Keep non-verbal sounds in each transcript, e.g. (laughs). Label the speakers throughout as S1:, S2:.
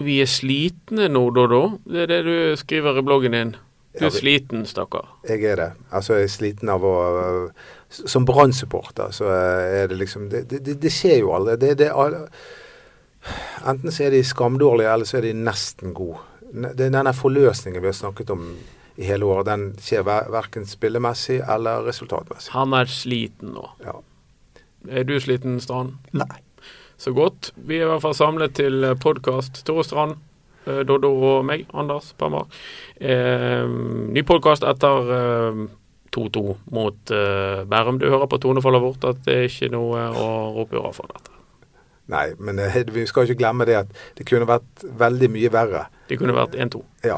S1: Vi er slitne nå, da, da. Det er det du skriver i bloggen din. Du
S2: Ja,
S1: er
S2: vi-
S1: sliten, stakkar.
S2: Jeg er det. Altså, jeg er sliten av å øh, s- Som Brann-supporter så øh, er det liksom Det, det, det- det skjer jo aldri. Det, det, er al- enten så er de skamdårlige, eller så er de nesten gode. Ne- det- Denne forløsningen vi har snakket om i hele år, den skjer ver verken spillemessig eller resultatmessig.
S1: Han er sliten nå.
S2: Ja.
S1: Er du sliten, Strand?
S3: Nei.
S1: Så godt. Vi er i hvert fall samlet til podkast. Tore Strand, eh, Doddo og meg, Anders Parmar. Eh, ny podkast etter eh, 2-2 mot eh, Bærum. Du hører på tonefallet vårt at det er ikke noe eh, å rope hurra for dette.
S2: Nei, men eh, vi skal ikke glemme det at det kunne vært veldig mye verre.
S1: Det kunne vært 1-2.
S2: Ja.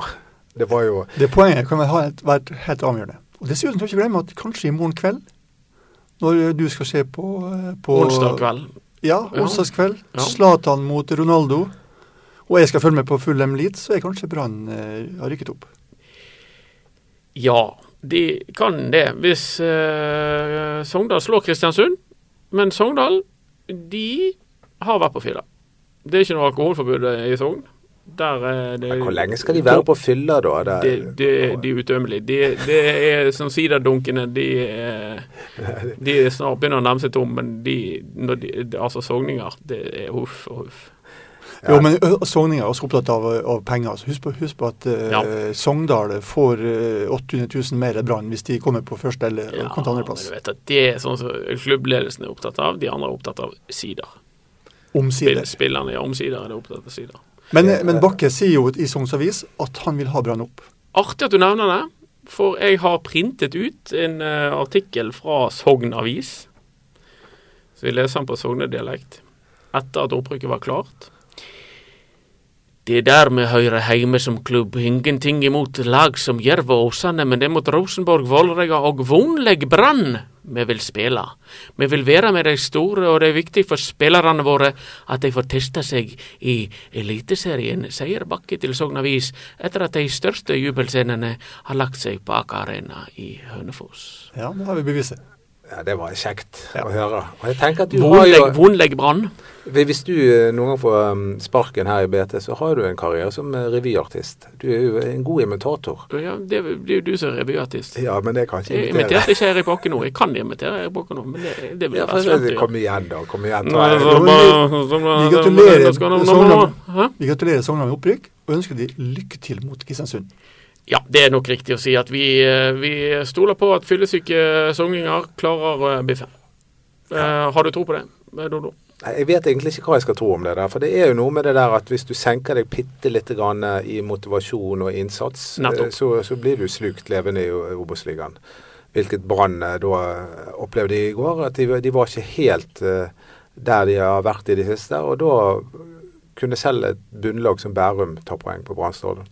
S2: Det var jo
S3: Det poenget kan vel ha et- vært helt avgjørende. Og Dessuten skal vi ikke glemme at kanskje i morgen kveld, når du skal se på, eh, på
S1: Onsdag kveld.
S3: Ja,
S1: Ja.
S3: onsdagskveld.
S1: Ja.
S3: Zlatan mot Ronaldo. Og jeg skal følge med på Fulham Leeds, så er kanskje Brann eh, har rykket opp.
S1: Ja, de kan det hvis eh, Sogndal slår Kristiansund. Men Sogndal, de har vært på fylla. Det er ikke noe alkoholforbud eh, i Sogn. Der er det
S2: Hvor lenge skal de være på fylla, da? Det-
S1: Eh, Det, det, de er utømmelige. De, det er som siderdunkene. De, er- de er snart begynner å nærme seg tom, men de, når de Altså, sogninger, det er huff og huff.
S2: Ja.
S3: Jo, men ø, Sogninger er også opptatt av, av penger. så Husk på, husk på at eh,
S1: Ja.
S3: Sogndal får eh, 800 000 mer enn Brann hvis de kommer på første eller ja,
S1: men
S3: andreplass.
S1: du vet at det er sånn som klubbledelsen er opptatt av. De andre er opptatt av sider. Spill-
S3: Omsider.
S1: Spillerne ja, omsider er det opptatt av sider.
S3: Men, eh,
S1: Eh,
S3: men Bakke sier jo i Sogns Avis at han vil ha Brann opp.
S1: Artig at du nevner det, for jeg har printet ut en eh, artikkel fra Sogn Avis. Så vi leser den på sognedialekt etter at opprykket var klart. Det der med Høyre heime som klubb, ingenting imot lag som Jerv og Åsane, men det er mot Rosenborg, Vålerenga og vonleg Brann vi vil spille. Vi vil være med de store, og det er viktig for spillerne våre at de får testa seg i Eliteserien, sier Bakke til Sogn Avis etter at de største jubelscenene har lagt seg på Aker Arena i Hønefoss.
S3: Ja, det har vi beviset.
S2: Ja, det var kjekt
S3: Ja.
S2: å høre. Og jeg tenker at du har jo,
S1: Vonleg, vonleg Brann.
S2: Hvis du eh, noen gang får um, sparken her i BT, så har du en karriere som eh, revyartist. Du er jo en god imitator.
S1: Ja, det er jo- det er jo du som er revyartist.
S2: Ja, men det kan ikke
S1: Jeg
S2: imitere.
S1: imiterte ikke Erik Bakke nå. Jeg kan imitere Erik Bakke nå, men det, det blir
S2: Ja,
S1: rett og slett å gjøre.
S2: kom igjen, da. Kom igjen.
S1: Nei, så
S2: Ta,
S3: det var
S1: bare-
S3: Vi
S1: så-
S3: gratulerer
S1: så- så-
S3: Sogndal.
S1: Hæ?
S3: Vi gratulerer Sogndal med opprykk og ønsker de lykke til mot Kristiansund.
S1: Ja, det er nok riktig å si at vi, eh, vi stoler på at fyllesyke sogninger klarer eh, biffen. Eh, har du tro på det, eh, Dodo?
S2: Nei, Jeg vet egentlig ikke hva jeg skal tro om det der. For det er jo noe med det der at hvis du senker deg bitte lite grann eh, i motivasjon og innsats, eh,
S1: Nettopp.
S2: så, så blir du slukt levende i O- Obos-ligaen. Hvilket Brann eh, da eh, opplevde i går. At de, var- de var ikke helt eh, der de har vært i det siste. Og da kunne selv et bunnlag som Bærum ta poeng på Brann stadion.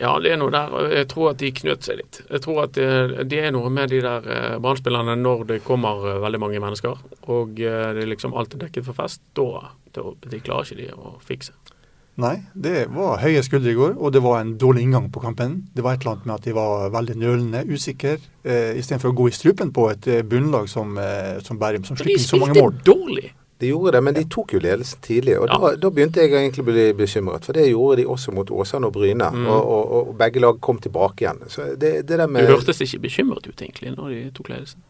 S1: Ja, det er noe der. og Jeg tror at de knøt seg litt. Jeg tror at det, det er noe med de der eh, brannspillerne når det kommer eh, veldig mange mennesker, og eh, det er liksom alt er dekket for fest. Da, da de klarer ikke de å fikse.
S3: Nei, det var høye skuldre i går, og det var en dårlig inngang på kampen. Det var et eller annet med at de var veldig nølende, usikre, eh, istedenfor å gå i strupen på et eh, bunnlag som, eh, som Bærum, som
S1: Men de
S3: slipper inn så mange
S1: spilte
S3: mål.
S1: dårlig.
S2: De gjorde det, men de tok jo ledelsen tidlig. Og
S1: Ja.
S2: da, da begynte jeg egentlig å bli bekymret. For det gjorde de også mot Åsane og Bryne. Og, og, og begge lag kom tilbake igjen. Så det, det der
S1: Mm. Du
S2: med
S1: hørtes ikke bekymret ut, egentlig, når de tok ledelsen.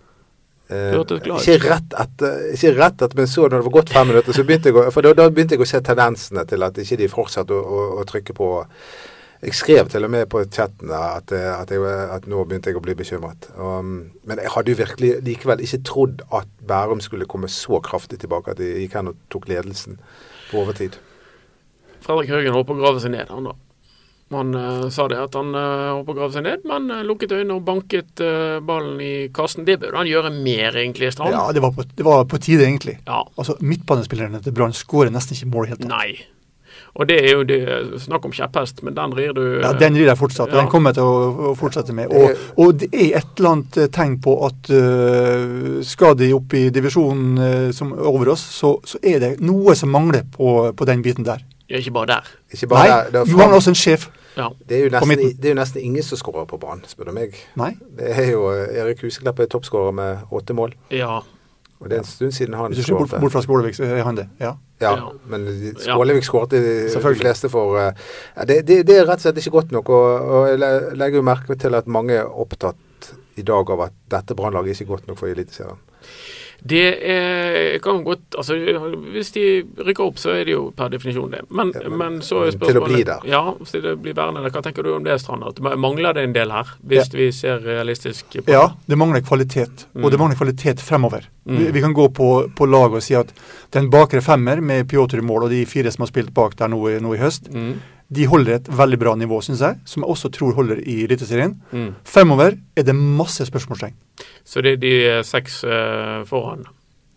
S2: eh,
S1: hørtes glad ut.
S2: ikke, rett etter, ikke rett etter, men så når det var gått fem minutter, så begynte jeg å, for da, da begynte jeg å se tendensene til at ikke de fortsatte å, å, å trykke på Jeg skrev til og med på chatten der at, eh, at, jeg, at nå begynte jeg å bli bekymret. Um, men jeg hadde jo virkelig likevel ikke trodd at Bærum skulle komme så kraftig tilbake at de gikk hen og tok ledelsen på overtid.
S1: Fredrik Haugen håper å grave seg ned, han da. Han eh, sa det at han uh, håper å grave seg ned, men eh, lukket øynene og banket eh, ballen i kassen. Det burde han gjøre mer, egentlig, Strand.
S3: Ja, det var, på, det var på tide, egentlig.
S1: Ja.
S3: Altså, Midtbanespillerne til Brann skårer nesten ikke mål i det hele tatt.
S1: Nei. Og det er jo det, snakk om kjepphest, men den rir du eh,
S3: Ja, Den rir jeg fortsatt, og
S1: Ja.
S3: den kommer jeg til å- å fortsette med. Og, og det er et eller annet eh, tegn på at eh, skal de opp i divisjonen eh, som er over oss, så, så er det noe som mangler på, på den biten der.
S1: ja, eh, Ikke bare der.
S2: Ikke
S3: Nei,
S2: bare der, det, er
S3: vi
S2: fram-
S3: mangler også en sjef.
S1: Ja.
S2: det, er jo
S3: på
S2: nesten,
S3: midten.
S2: det er jo nesten ingen som skårer på banen, spør du meg.
S3: Nei.
S2: eh, Det er jo Erik Huseklepp er toppskårer med åtte mål.
S1: ja.
S2: Og det er en stund siden han
S3: Hvis du ser bort, bort fra Skålevik, så er han det. Ja.
S2: Ja,
S1: Ja.
S2: men de-
S1: Ja.
S2: Skålevik skåret de
S3: Selvfølgelig.
S2: fleste for eh, ja, det, det, det er rett og slett ikke godt nok. Og, og jeg le- legger jo merke til at mange er opptatt i dag av at dette brannlaget ikke er godt nok for Eliteserien.
S1: Det er, kan godt Altså, hvis de rykker opp, så er det jo per definisjon det. Men,
S2: Ja,
S1: men,
S2: men-
S1: så er
S2: men til å
S1: spørsmålet
S2: bli der.
S1: Ja, til å bli værende der. Hva tenker du om det, Strand? At ma- mangler det en del her, hvis vi ser realistisk på det?
S3: Ja, det mangler kvalitet,
S1: Mm.
S3: og det mangler kvalitet fremover.
S1: Mm.
S3: Vi, vi kan gå på, på lag og si at den bakre femmer med Piotr i mål og de fire som har spilt bak der nå, i- nå i høst,
S1: Mm,
S3: de holder et veldig bra nivå, syns jeg, som jeg også tror holder i Eliteserien.
S1: mm.
S3: Fremover er det masse spørsmålstegn.
S1: Så det er de seks eh, foran.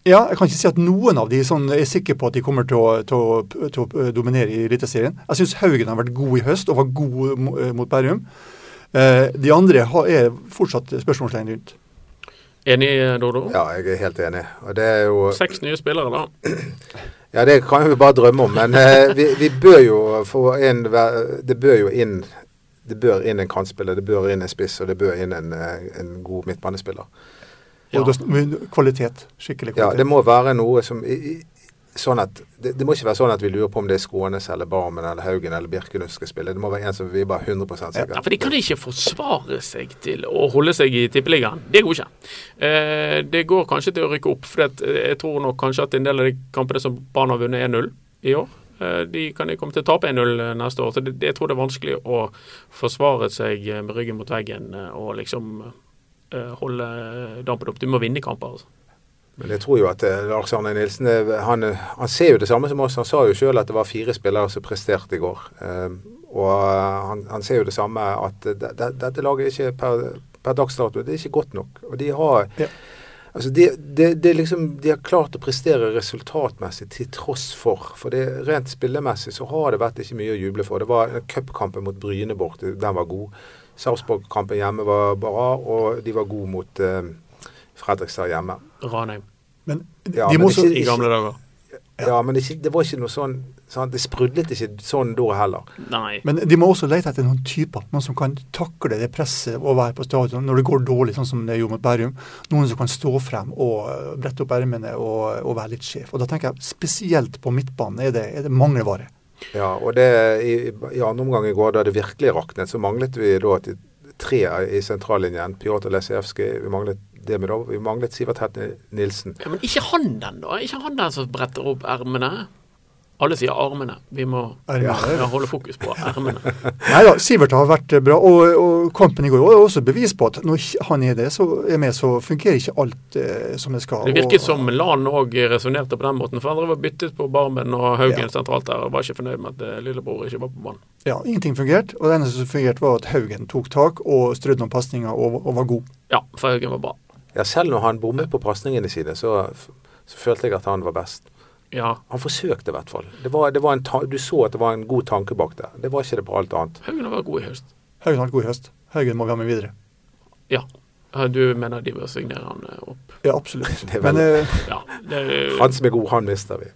S3: Ja, jeg kan ikke si at noen av de sånn, er sikker på at de kommer til å, til å, til å eh, dominere i Eliteserien. Jeg syns Haugen har vært god i høst, og var god mo- eh, mot Bærum. Eh, de andre har, er fortsatt spørsmålstegn rundt.
S1: Enig, eh, Dodo?
S2: Ja, jeg er helt enig. Og det er jo
S1: Seks nye spillere, da.
S2: Ja, det kan vi bare drømme om, men eh, vi, vi bør jo få inn hver- Det bør jo inn det bør inn en kantspiller, det bør inn en spiss, og det bør inn en, eh, en god midtbanespiller.
S1: Ja.
S3: Og da sn- men kvalitet. Skikkelig
S2: Ja,
S3: kvalitet.
S2: det må være noe som i, i, sånn at, det, det må ikke være sånn at vi lurer på om det er Skånes eller Barmen eller Haugen eller Birkelund som skal spille. Det må være en som vi er bare 100
S1: Ja,
S2: sikre
S1: for de kan ikke forsvare seg til å holde seg i tippeligaen. Det går ikke. Eh, det går kanskje til å rykke opp, for jeg tror nok kanskje at en del av de kampene som Brann har vunnet 1-0 i år, eh, de kan de komme til å tape 1-0 neste år. Så det, det- jeg tror det er vanskelig å forsvare seg eh, med ryggen mot veggen eh, og liksom eh, holde dampen opp. Du må vinne kamper, altså.
S2: Men jeg tror jo at eh, Lars Arne Nilsen eh, han, eh, han ser jo det samme som oss. Han sa jo sjøl at det var fire spillere som presterte i går. Eh, og eh, han, han ser jo det samme at eh, de, de, dette laget er ikke per, per dags dato det er ikke godt nok. Og de har
S3: Ja.
S2: Altså de, de, de, liksom, de har klart å prestere resultatmessig til tross for. For det, rent spillemessig så har det vært ikke mye å juble for. Det var eh, cupkampen mot Bryne borte, den var god. Sarpsborg-kampen hjemme var bra, og de var gode mot eh, Fredrikstad hjemme.
S1: Ranheim
S3: Men de
S2: Ja,
S3: må
S2: men
S3: også
S2: ikke-
S1: i gamle dager.
S2: Ja, men det, er ikke- det var ikke noe sånn, sant? Det sprudlet ikke sånn da heller.
S1: Nei.
S3: Men de må også lete etter noen typer. Noen som kan takle det presset å være på stadion når det går dårlig, sånn som det gjorde mot Bærum. Noen som kan stå frem og eh, brette opp ermene og, og være litt sjef. Og da tenker jeg spesielt på midtbanen er det, er det mangelvare.
S2: Ja, og det, i, i andre omgang i går, da det virkelig raknet, så manglet vi da til tre i sentrallinjen. Pjotr Lesijevskij, vi manglet Demidov, vi manglet Sivert Hetne Nilsen.
S1: Ja, men ikke han den, da. Ikke han den som bretter opp ermene. Alle sier armene. Vi må
S3: Ja.
S1: ja, holde fokus på ermene.
S3: Nei da, Sivert har vært eh, bra. Og, og kampen i går er også bevis på at når ikke han er det, så er med, så fungerer ikke alt eh, som det skal.
S1: Det virket
S3: Og-
S1: som Lan òg resonnerte på den måten. For andre var byttet på Barmen og Haugen
S3: Ja.
S1: sentralt der og var ikke fornøyd med at eh, lillebror ikke var på banen.
S3: Ja, ingenting fungerte. Og det eneste som fungerte, var at Haugen tok tak og strødde noen pasninger og, og var god.
S1: Ja, for Haugen var bra.
S2: Ja, selv når han bommet på pasningene sine, så, så følte jeg at han var best.
S1: Ja,
S2: Han forsøkte i hvert fall. Det var, det var en ta du så at det var en god tanke bak der. Det var ikke det på alt annet.
S1: Haugen var god i høst.
S3: Haugen har vært god i høst. Haugen må vi ha med videre.
S1: Ja. Eh, Du mener de bør signere han eh, opp?
S3: Ja,
S2: (laughs)
S3: absolutt.
S2: Det er
S3: Men
S2: vel-
S3: eh,
S1: Ja, det,
S2: (laughs) Han som er god, han mister vi.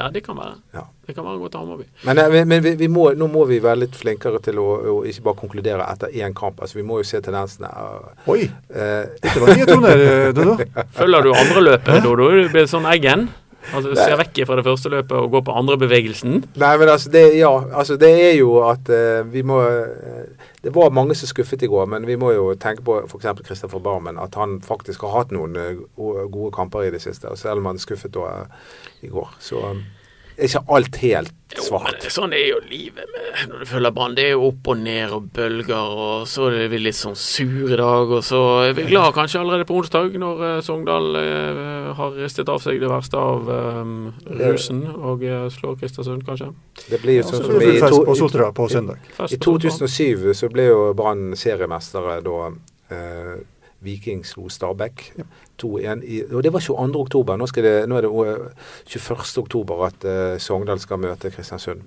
S1: ja, det kan være.
S2: Ja.
S1: Det kan være godt å ha med.
S2: Men, eh, vi- men vi, vi må, nå må vi være litt flinkere til å, å ikke bare konkludere etter én kamp. Altså, vi må jo se tendensene.
S3: (laughs) oi,
S2: Eh,
S3: dette var nye toner, eh,
S1: (laughs)
S3: Dodo.
S1: Følger du andre løpet, Dodo? Du blir sånn Eggen. Altså, du ser vekk fra det første løpet og går på andre bevegelsen.
S2: nei, men altså det, ja, altså det er jo at eh, vi må eh, Det var mange som skuffet i går, men vi må jo tenke på f.eks. Christopher Barmen. At han faktisk har hatt noen eh, gode gode kamper i det siste. Og selv om han skuffet da, eh, i går, så eh, er ikke alt helt
S1: Jo, men
S2: svart.
S1: det- sånn er jo livet med, når du følger Brann. Det er jo opp og ned og bølger, og så er vi litt sånn sure i dag, og så er vi glad kanskje allerede på onsdag, når eh, Sogndal eh, har ristet av seg det verste av eh, rusen og eh, slår Kristersund, kanskje.
S2: Det blir jo
S3: Så
S2: sånn
S3: får
S2: som
S3: vi
S2: i,
S3: fest på
S2: to,
S3: Sotra på søndag.
S1: Fest
S2: i
S1: på Sogndal.
S2: 2007 så ble jo Brann seriemestere da eh, Viking slo Stabæk 2-1. i- Og det var 22. oktober. Nå, skal det, nå er det eh, 21. oktober at eh, Sogndal skal møte Kristiansund.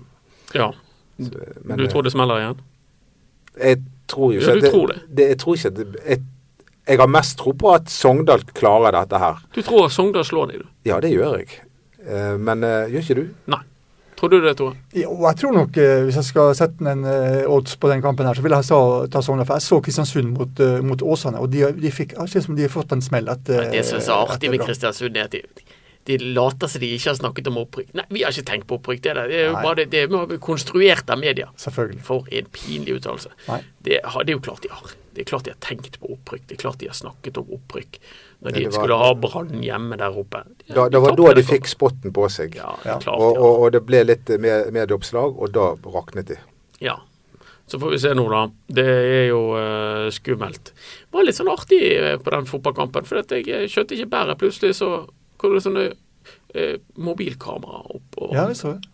S1: Ja.
S2: Men
S1: du
S2: eh,
S1: tror det smeller igjen?
S2: jeg tror jo
S1: Ja,
S2: ikke at
S1: du tror det.
S2: Jeg tror ikke at det, jeg, jeg har mest tro på at Sogndal klarer dette her.
S1: Du tror Sogndal slår dem, du?
S2: Ja, det gjør jeg. Eh, men eh, gjør ikke du?
S1: Nei.
S4: Tror du det, Tore?
S3: Jo, jeg tror nok, eh, hvis jeg skal sette en eh, odds på den kampen her, så vil jeg sa- ta Sogndal. For jeg så Kristiansund mot, eh, mot Åsane, og de, de fikk, jeg synes som de har fått en smell etter
S1: Ja, Det som er så artig
S3: etter
S1: med
S3: Brann.
S1: Kristiansund, er at de, de later som de ikke har snakket om opprykk. Nei, vi har ikke tenkt på opprykk. Det, der. det er jo
S3: Nei.
S1: bare det, det er konstruert av media.
S3: Selvfølgelig.
S1: For en pinlig uttalelse.
S3: Nei.
S1: Det, har- det er jo klart de har. Det er klart de har tenkt på opprykk. Det er klart de har snakket om opprykk. Når de
S2: det var-
S1: skulle ha Brann hjemme der oppe.
S2: Da, det var da de fikk spotten på seg.
S1: Ja, det
S3: Ja.
S1: er klart.
S2: Og,
S1: de har.
S2: og, og det ble litt eh, mer- medieoppslag, og da raknet de.
S1: Ja. Så får vi se nå, da. Det er jo eh, skummelt. Det var litt sånn artig eh, på den fotballkampen, for at jeg eh, skjønte ikke bæret. Plutselig så kom det sånne eh, mobilkamera opp. Og,
S3: Ja, vi så det.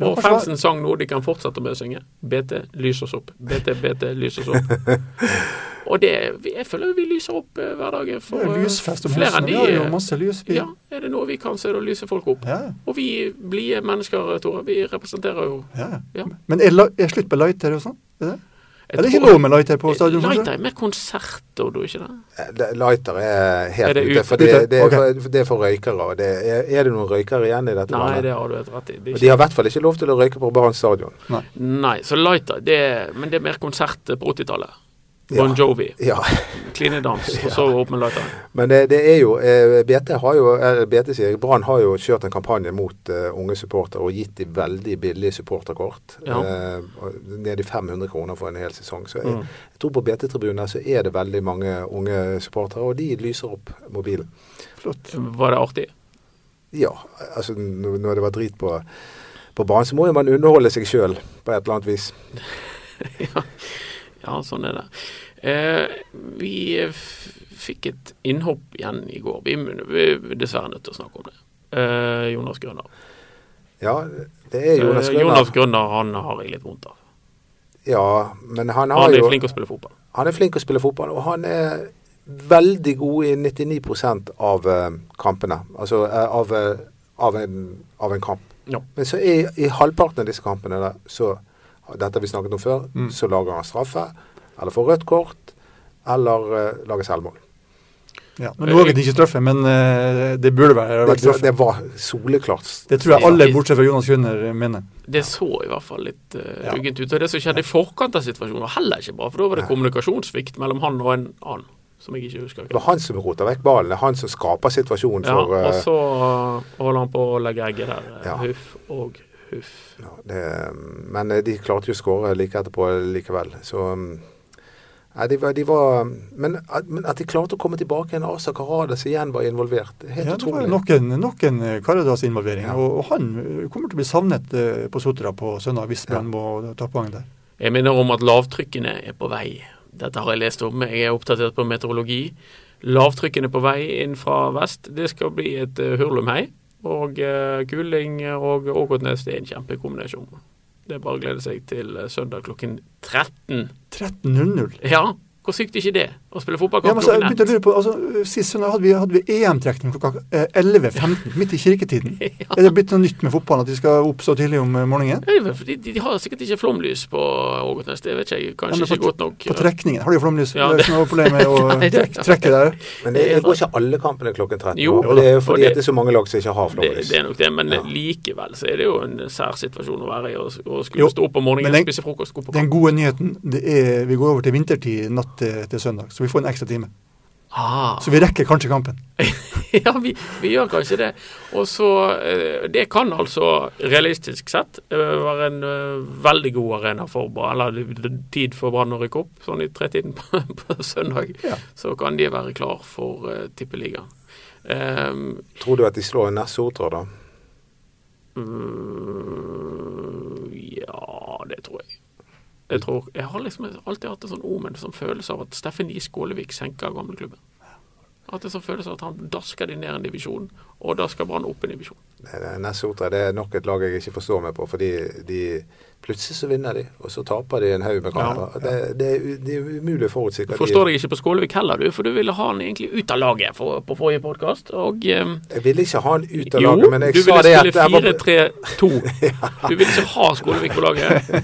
S3: Det var
S1: og
S3: forsvar-
S1: fansen sang noe de kan fortsette med å synge. BT lys oss opp. BT, BT lys oss opp.
S3: (laughs)
S1: og det Jeg føler vi lyser opp eh, hver dag. eh,
S3: Det er
S1: For eh,
S3: lysfest om
S1: flere
S3: høsten.
S1: enn de
S3: Vi har jo
S1: eh,
S3: masse lys. Vi,
S1: Ja, er det noe vi kan, så er det å lyse folk opp.
S3: ja.
S1: Og vi blide mennesker, eh, Tore, vi representerer jo
S3: ja.
S1: Ja.
S3: Men er, la- er slutt på lighter og sånn? Er det?
S1: Jeg
S3: Er det ikke
S1: tror-
S3: lov med lighter på stadion? kanskje?
S1: Lighter er mer konserter, du, ikke det?
S2: Eh, det- Lighter er helt
S1: Er det
S2: ute,
S1: ute?
S2: for det,
S3: Ute,
S2: det, er
S3: ok.
S2: for, det er for røykere. Og det, er, er det noen røykere igjen i dette
S1: Nei,
S2: landet?
S1: det har du helt rett i. Det er
S2: Og de
S1: ikke...
S2: har i hvert fall ikke lov til å røyke på Brann stadion.
S1: Nei, så lighter det er, Men det er mer konsert på 80-tallet.
S2: Ja.
S1: Bon Jovi,
S2: Ja,
S1: klinedans,
S3: (laughs)
S1: og så opp med lighteren.
S2: (laughs) Men det, det er jo eh, BT har jo, eh, BT sier jeg, Brann har jo kjørt en kampanje mot eh, unge supportere og gitt de veldig billige supporterkort.
S1: Ja.
S2: eh, og ned i 500 kroner for en hel sesong. Så jeg,
S1: Mm.
S2: jeg tror på BT-tribunen så er det veldig mange unge supportere, og de lyser opp mobilen.
S3: Flott.
S1: Var det artig?
S2: Ja, altså når når det var drit på, på banen, så må jo man underholde seg sjøl på et eller annet vis.
S1: Ja, sånn er det. Eh, vi eh, f- fikk et innhopp igjen i går. Vi vi er dessverre nødt til å snakke om det. Eh, Jonas Grønner.
S2: Ja, det er Jonas
S1: Eh, Jonas
S2: Grønner.
S1: Grønner han har jeg litt vondt av.
S2: Ja, men han har
S1: Han er
S2: jo
S1: flink til å spille fotball.
S2: Han er flink å spille fotball, og han er veldig god i 99 av eh, kampene. Altså eh, av, eh, av, en, av en kamp.
S1: Ja.
S2: Men så i, i halvparten av disse kampene, der, så, dette har vi snakket om før,
S3: Mm.
S2: så lager han straffe, eller får rødt kort, eller eh, lager selvmål.
S3: Ja. Nå våget de ikke straffe, men eh, det burde være
S2: Det,
S3: vært straffe.
S2: det var soleklart.
S3: Det tror jeg alle,
S1: Ja.
S3: bortsett fra Jonas Grønner, mener.
S1: Det så i hvert fall litt eh,
S3: Ja.
S1: uggent ut. Og det som skjedde i forkant av situasjonen var heller ikke bra, for da var det
S2: Nei.
S1: kommunikasjonssvikt mellom han og en annen, som jeg ikke husker.
S2: Det var han som roter vekk ballen, det er han som skaper situasjonen
S1: Ja,
S2: for
S1: og
S2: eh,
S1: så holder han på å legge egget der. eh,
S2: Ja.
S1: Huff og huff.
S2: Ja, det, men eh, de klarte jo å skåre like etterpå likevel. Så mm, Nei, de var, de var men, at, men at de klarte å komme tilbake igjen, Asa Karadas igjen var involvert. Helt
S3: Ja, det var
S2: utrolig.
S3: jo nok en, nok en eh, Karadas-involvering.
S2: Ja.
S3: Og, og han eh, kommer til å bli savnet eh, på Sotra på søndag, hvis Brann må ta poeng der.
S1: Jeg minner om at lavtrykkene er på vei. Dette har jeg lest om, jeg er oppdatert på meteorologi. Lavtrykkene er på vei inn fra vest. Det skal bli et eh, hurlumhei. Og eh, Kuling og Ågotnes, det er en kjempekombinasjon. Det er bare å glede seg til eh, søndag klokken 13.
S3: 13-0.
S1: Ja, hvor sykt er ikke det? Å spille
S3: Ja,
S1: fotballkamp
S3: men så jeg
S1: klokken
S3: begynte
S1: ett.
S3: å lure på, altså, eh, Sist søndag hadde vi, hadde vi EM-trekning klokka eh, 11.15, midt i
S1: (laughs)
S3: kirketiden. Er det blitt noe nytt med fotballen, at de skal opp så tidlig om eh, morgenen?
S1: Nei, vel, for De, de har sikkert ikke flomlys på Ågotnes, det vet ikke jeg.
S3: Ja,
S1: Kanskje
S3: men på
S1: ikke godt nok.
S3: På trekningen har de jo flomlys.
S1: Ja,
S3: det er ikke noe problem med å
S1: (laughs) Nei, det-
S3: trek- trekke der.
S2: Men det, det går ikke alle kampene klokken 13.
S1: Jo,
S2: og det er jo
S1: og
S2: fordi
S1: det-
S2: at det er så mange lag som ikke har
S1: Det,
S2: flomlys.
S1: det er nok det, men
S2: Ja.
S1: likevel så er det jo en særsituasjon å være i. Å å
S3: Jo,
S1: skulle stå opp om morgenen,
S3: men den-
S1: spise frokost, gå på
S3: Den
S1: kamp.
S3: gode nyheten det er vi går over til vintertid natt til, til søndag, så vi får en ekstra time.
S1: Ah.
S3: Så vi rekker kanskje kampen.
S1: (laughs) ja, vi, vi gjør kanskje det. Og så eh, Det kan altså realistisk sett eh, være en eh, veldig god arena for Brann, eller det- det- tid for Brann å rykke opp. Sånn i tretiden på, (laughs) på søndag,
S3: Ja.
S1: så kan de være klar for uh, tippeligaen. Um,
S2: Tror du at de slår Ness Sotra, da?
S1: Øh, ja, det tror jeg. Jeg tror, jeg har liksom alltid hatt en sånn omen, sånn følelse av at Steffen I. Skålevik senker gamleklubben. At det er sånn følelse av at han dasker de ned en divisjon, og da skal Brann opp en divisjon.
S2: Nei, Eh, Ness Sotra det er nok et lag jeg ikke forstår meg på, fordi de Plutselig så vinner de, og så taper de en haug med kamper. Det, det, er u- det er umulig å forutsi
S1: Du
S2: hva de
S1: forstår deg ikke på Skålevik heller, du, for du ville ha han egentlig ut av laget for, på forrige podkast. Og eh,
S2: Jeg ville ikke ha han ut av
S1: jo,
S2: laget, men jeg
S1: du
S2: sa
S1: ville
S2: det at
S1: spille
S2: jeg var- (laughs)
S1: 4-3-2. Du ville ikke ha Skålevik på laget.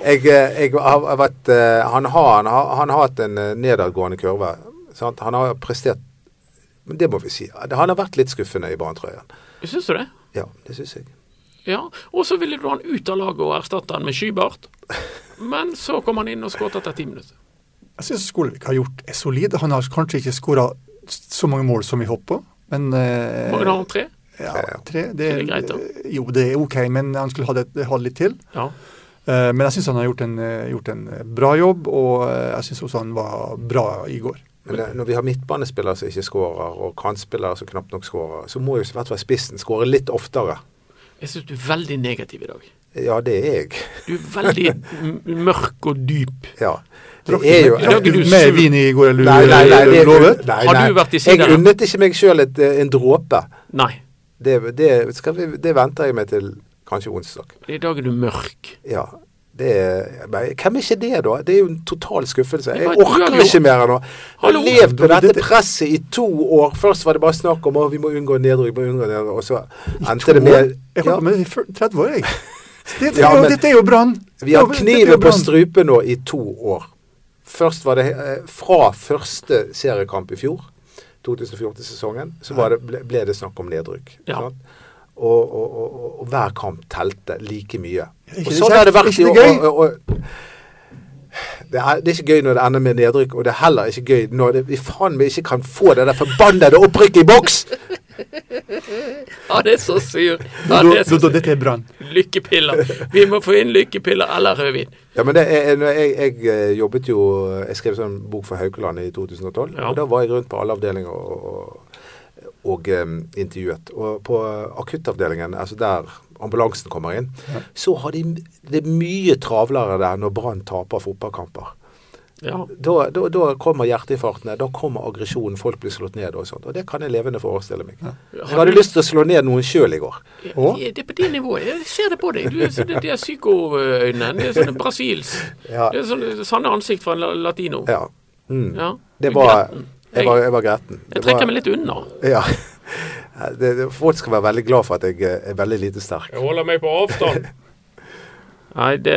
S2: jeg, eh, jeg har har vært eh, han har, han, har, han har hatt en eh, nedadgående kurve. Sant? Han har prestert Men det må vi si. Han har vært litt skuffende i banetrøyen.
S1: Syns du det?
S2: Ja, det syns jeg.
S1: Ja, Og så ville du ha han ut av laget og erstatte han med Skybart. Men så kom han inn og skåret etter ti minutter.
S3: Jeg syns Skolevik har gjort er solid. Han har kanskje ikke skåra så mange mål som vi håper, men eh,
S1: Mange har han tre?
S3: Ja,
S2: Tre, ja.
S3: tre. Det,
S1: Så det er greit, da.
S3: Jo, det er OK, men han skulle ha det, ha det litt til.
S1: Ja.
S3: Eh, Men jeg syns han har gjort en, eh, gjort en eh, bra jobb, og eh, jeg syns også han var bra i går.
S2: Men det, når vi har midtbanespillere som ikke skårer, og kantspillere som knapt nok skårer, så må jo i hvert fall spissen skåre litt oftere.
S1: Jeg syns du er veldig negativ i dag.
S2: Ja, det er jeg. (laughs)
S1: Du er veldig m- mørk og dyp.
S2: Ja. Det er jo
S1: Ja,
S3: Drakk du
S1: du
S3: mer
S1: sur.
S3: vin i går enn du
S2: Nei, nei, nei. Det,
S3: eh, lovet?
S2: nei,
S1: Har
S2: nei.
S1: du vært i
S2: Jeg
S1: sideren?
S2: unnet ikke meg sjøl en dråpe.
S1: Nei,
S2: Det, det, skal vi, det venter jeg med til kanskje onsdag.
S1: i dag er du mørk.
S2: Ja. Det er, men hvem er ikke det, da? Det er jo en total skuffelse.
S1: Det
S2: Jeg
S1: var- du har
S2: orker
S1: jo-
S2: ikke mer nå. Jeg
S1: Hallo.
S2: har levd med dette presset i to år. Først var det bare snakk om at vi må unngå nedrykk, vi må unngå nedrykk, og så endte det med
S3: Jeg holdt
S2: ja,
S3: på med det i fyr- 30 år, jeg. Det, det,
S2: (laughs) Ja, men-
S3: dette er jo Brann!
S2: Vi har
S3: Ja, men dette er jo
S2: kniven på
S3: Brann.
S2: strupen nå i to år. Først var det eh, fra første seriekamp i fjor, 2014-sesongen, så var det, ble, ble det snakk om nedrykk.
S1: Ja.
S2: sant? Og, og, og, og, og hver kamp telte like mye.
S3: Er ikke
S2: Og
S3: det
S2: sånn
S3: kjekt?
S2: har det vært
S3: Er
S2: i år.
S3: ikke det
S2: Og, og, det, er, det er ikke gøy når det ender med nedrykk, og det er heller ikke gøy når det, vi faen meg ikke kan få det der forbannede opprykket i boks!
S1: Ja, det er så sur. Ja, det
S3: Dodo,
S1: er så
S3: Dodo,
S1: sur.
S3: dette er Brann.
S1: Lykkepiller. Vi må få inn lykkepiller eller rødvin.
S2: Ja, men det, jeg, når jeg, jeg eh, jobbet jo Jeg skrev sånn bok for Haukeland i 2012.
S1: Ja.
S2: Og da var jeg rundt på alle avdelinger og, og, og em, intervjuet. Og på akuttavdelingen, altså der ambulansen kommer inn, så har de Det er mye travlere der når Brann taper fotballkamper.
S1: Ja.
S2: Da, da, da kommer hjerteinfarktene, da kommer aggresjonen, folk blir slått ned og sånt. Og det kan jeg levende forestille meg. Jeg
S1: Har
S2: hadde
S1: du-
S2: lyst til å slå ned noen sjøl i går.
S3: Å?
S1: Ja, Det er på det nivået. Jeg ser det på deg. Du er sånne, de er psykoøynene. Det er sånne Brasils
S2: Ja.
S1: Det er sånne sanne ansikt fra en la- latino.
S2: Ja. Mm.
S1: Ja.
S2: Det var
S1: Gretten.
S2: Jeg var, jeg var gretten.
S1: Jeg
S2: Det
S1: trekker
S2: var-
S1: meg litt unna.
S2: Ja. (laughs) Det, det, folk skal være veldig glad for at jeg eh, er veldig lite sterk.
S1: Jeg holder meg på avstand. (laughs) Nei, det,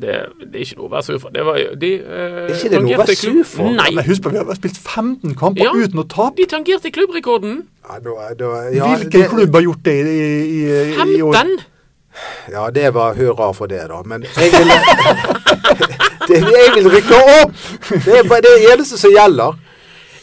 S1: det, det er ikke noe å være sur for. Det var, jo- de, eh,
S2: Er ikke det noe å
S1: tangerte
S2: være
S1: klubb-
S2: sur for?
S3: Men
S1: Nei.
S3: husk på, vi har spilt 15 kamper
S1: Ja.
S3: uten å tape.
S1: De tangerte klubbrekorden.
S2: Ja, nå er- da- ja,
S3: Hvilken
S2: det-
S3: klubb har gjort det i, i, i, i år?
S1: 15!
S2: Ja, det var hurra for det, da. Men jeg vil, (laughs) det, jeg vil rykke opp! Det er bare det eneste som gjelder.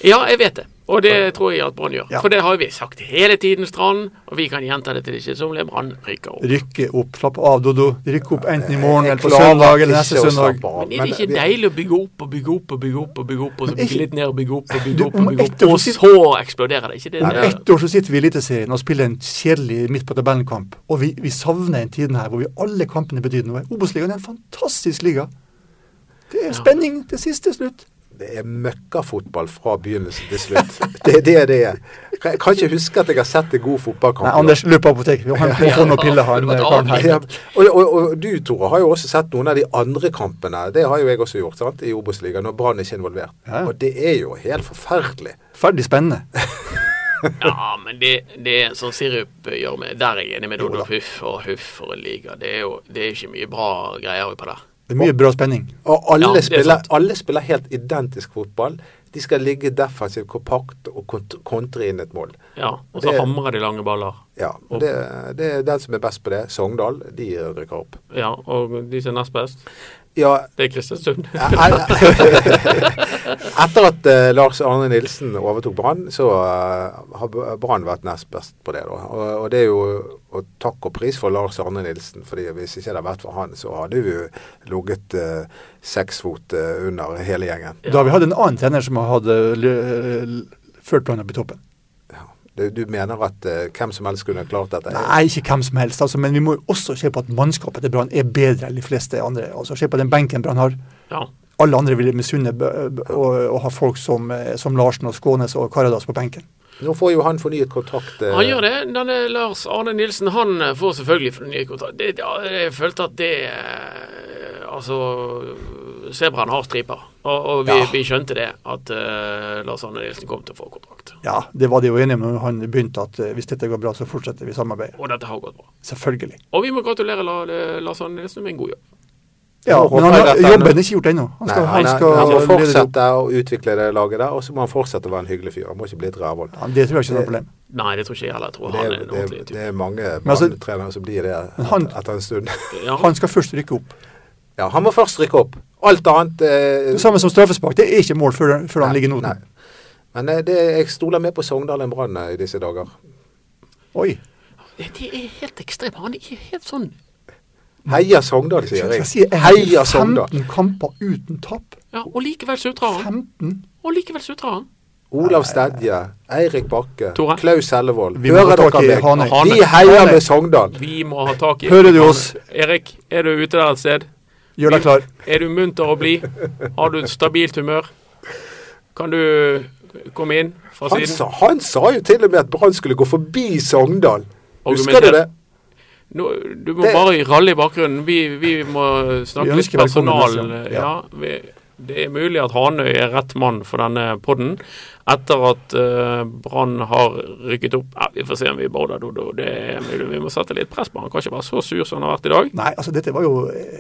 S1: Ja, jeg vet det. Og det tror jeg at Brann gjør.
S3: Ja.
S1: For det har vi sagt hele tiden, Strand. Og vi kan gjenta det til det ikke somler. Brann rykker opp.
S3: Rykke opp, slapp av, Dodo. Rykke opp enten i morgen
S2: Jeg
S3: eller på
S2: klarer
S3: søndag eller
S2: Eh, ikke
S3: neste
S2: å
S3: søndag.
S2: slappe av,
S1: Men er det ikke
S2: vi-
S1: deilig å bygge opp og bygge opp og bygge opp og bygge opp, og så
S3: Men
S1: bygge
S3: ikke-
S1: litt ned og bygge opp og
S3: Du,
S1: bygge opp,
S3: om
S1: og bygge
S3: ett
S1: opp,
S3: år
S1: og
S3: sitt-
S1: så eksploderer det? Ikke det?
S3: Om
S1: det
S3: ett år så sitter vi i Eliteserien og spiller en kjedelig midt på tabellen-kamp. Og vi, vi savner den tiden her hvor vi alle kampene betyr noe. Obos-ligaen er en fantastisk liga. Det er spenning til siste slutt.
S2: Det er møkkafotball fra begynnelsen til slutt. Det er det det er. Jeg kan ikke huske at jeg har sett en god fotballkamp.
S3: Nei,
S2: i år.
S3: Anders, løp på apoteket. Vi må hente- må få noen piller, han
S1: Ja,
S3: karen her.
S2: Ja, og, og, og du, Tore, har jo også sett noen av de andre kampene. Det har jo jeg også gjort sant? i Obos-ligaen, når Brann ikke er involvert.
S3: Ja, ja.
S2: Og det er jo helt forferdelig.
S3: Ferdig spennende.
S1: Ja, men det, det er sånn sirup gjør meg Der er jeg enig med Dodo. Huff og huff for en liga. Det er jo det er ikke mye bra greier på det.
S3: Det er mye bra spenning.
S2: Og alle,
S1: Ja, det er
S2: spiller,
S1: sant.
S2: alle spiller helt identisk fotball. De skal ligge defensivt kompakt og kont kontre inn et mål.
S1: Ja, og så
S2: Det-
S1: hamrer de lange baller.
S2: Ja, og det, det er den som er best på det. Sogndal, de rykker opp.
S1: Ja, og de som er nest best,
S2: Ja,
S1: det er Kristiansund.
S2: Etter at eh, Lars Arne Nilsen overtok Brann, så eh, har B- Brann vært nest best på det. da. Og, og det er jo og takk og pris for Lars Arne Nilsen, fordi hvis ikke det hadde vært for han, så hadde vi jo ligget eh, seks fot eh, under hele gjengen.
S1: Ja.
S3: Da har vi hatt en annen trener som har hatt, eh, l- l- ført planen opp i toppen.
S2: Du, du mener at eh, hvem som helst kunne klart dette?
S3: Nei, Eh, ikke hvem som helst, altså, men vi må jo også se på at mannskapet til Brann er bedre enn de fleste andre. Altså, se på den benken Brann har.
S1: (laughs) Ja.
S3: Alle andre ville misunne b- b- å å ha folk som, eh, som Larsen og Skånes og Karadas på benken.
S2: Nå får jo han fornyet kontrakt. eh,
S1: Han gjør det. Denne Lars Arne Nilsen han eh, får selvfølgelig fornyet kontrakt. Det, ja, jeg følte at det eh, Altså Sebraen har striper, og, og vi,
S3: Ja.
S1: vi skjønte det. At eh, Lars Arne Nilsen kom til å få kontrakt.
S3: Ja, det var de jo enige om når han begynte, at eh, hvis dette går bra, så fortsetter vi samarbeidet.
S1: Og dette har gått bra.
S3: Selvfølgelig.
S1: Og vi må gratulere La, eh, Lars Arne Nilsen med en god jobb.
S3: Ja,
S2: Nå
S3: men han
S2: håper jeg
S3: har
S2: at han-
S3: jobben er ikke gjort ennå. Han
S2: Nei,
S3: skal,
S2: han,
S3: han
S2: er-
S3: skal
S2: han må
S3: lede det opp.
S2: fortsette å utvikle det laget der, og så må han fortsette å være en hyggelig fyr. Han må ikke bli et rævhold.
S3: Ja, det tror jeg ikke er noe problem.
S1: Nei, det tror ikke jeg heller. Jeg tror
S2: Det,
S1: han
S2: er-
S1: er en
S2: det,
S1: ordentlig
S2: er-
S1: type.
S2: det er mange
S3: altså-
S2: banetrenere som blir det
S3: Men han-
S2: et- etter en
S3: (laughs)
S2: stund.
S1: Ja.
S3: Han skal først rykke opp.
S2: Ja, han må først rykke opp. Alt annet eh,
S3: Det samme som straffespark. Det er ikke mål før, før han
S2: nei,
S3: ligger i noten.
S2: nei. Men eh, det, jeg stoler mer på Sogndal enn Brann eh, i disse dager.
S3: Mm. Oi.
S1: Det, det er helt ekstremt. Han er helt sånn
S2: Heia Sogndal, sier
S3: Skal
S2: jeg.
S3: jeg si,
S2: Heia
S3: er
S2: Sogndal.
S3: 15 kamper uten tap.
S1: Ja, og likevel sutrer han.
S3: 15.
S1: Og likevel sutrer han.
S2: Olav Stedje, Eirik Bakke,
S1: Tore.
S2: Klaus Hellevold.
S3: Vi må
S2: Hører
S3: få tak
S2: dere
S3: i
S2: meg?
S3: Hanøy.
S2: Vi
S1: Hanøy.
S2: heier
S3: Hanøy.
S2: med Sogndal.
S1: Vi må ha tak i
S3: Hører du oss?
S1: Erik, er du ute der et sted?
S3: Gjør deg klar.
S1: Er du munter og blid? Har du et stabilt humør? Kan du komme inn fra
S2: Han
S1: siden?
S2: sa, han sa jo til og med at Brann skulle gå forbi Sogndal. Husker du
S1: Argumenter.
S2: det?
S1: Nå, du må
S2: Det-
S1: bare ralle i bakgrunnen. Vi, vi må
S3: Vi
S1: snakke litt
S3: ønsker velkommen,
S1: personal.
S3: Christian. Ja.
S1: Ja, vi, det er mulig at Hanøy er rett mann for denne podden. Etter at eh, Brann har rykket opp ja, Vi får se om vi border Dodo. Det er mulig. Vi må sette litt press på han. Kan ikke være så sur som han har vært i dag.
S3: Nei, altså dette var jo eh,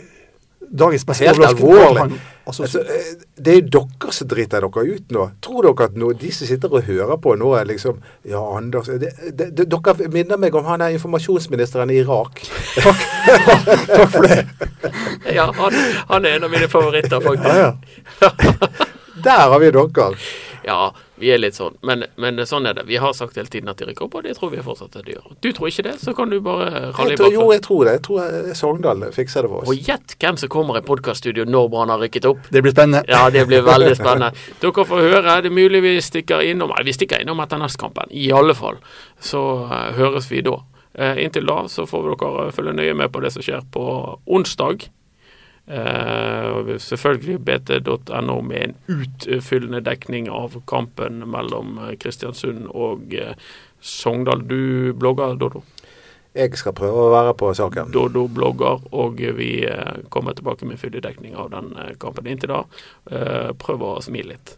S3: dagens beste
S2: Helt
S3: overraskelse.
S2: alvorlig.
S3: Han- Altså,
S2: Altså, eh, det er jo dere som driter dere ut nå. Tror dere at nå, de som sitter og hører på nå, er liksom Ja, Anders det, det, det, Dere minner meg om han er informasjonsministeren i Irak.
S1: (laughs) Ja, han, han er en av mine favoritter, faktisk.
S3: ja, ja.
S2: Der har vi dere.
S1: (laughs) Ja, vi er litt sånn, men, men sånn er det. Vi har sagt hele tiden at de rykker opp, og det tror vi fortsatt at de gjør. Du tror ikke det, så kan du bare ralle
S2: Jeg
S1: i
S2: tror, jo,
S1: bakgrunnen.
S2: jeg tror det. Jeg tror eh, Sogndal fikser det for
S1: Og
S2: oss.
S1: gjett hvem som kommer i podkaststudio når Brann har rykket opp.
S3: Det blir spennende.
S1: Ja, det blir veldig spennende. Dere får høre. Det er mulig vi stikker innom Nei, vi stikker innom etter nestkampen. I alle fall. Så eh, høres vi da. Eh, inntil da så får dere eh, følge nøye med på det som skjer på onsdag. Eh, selvfølgelig bt.no med en utfyllende dekning av kampen mellom eh, Kristiansund og eh, Sogndal. Du blogger, Dodo?
S2: Jeg skal prøve å være på saken.
S1: Dodo blogger, og vi eh, kommer tilbake med full dekning av den eh, kampen. Inntil da, eh, prøv å smile litt.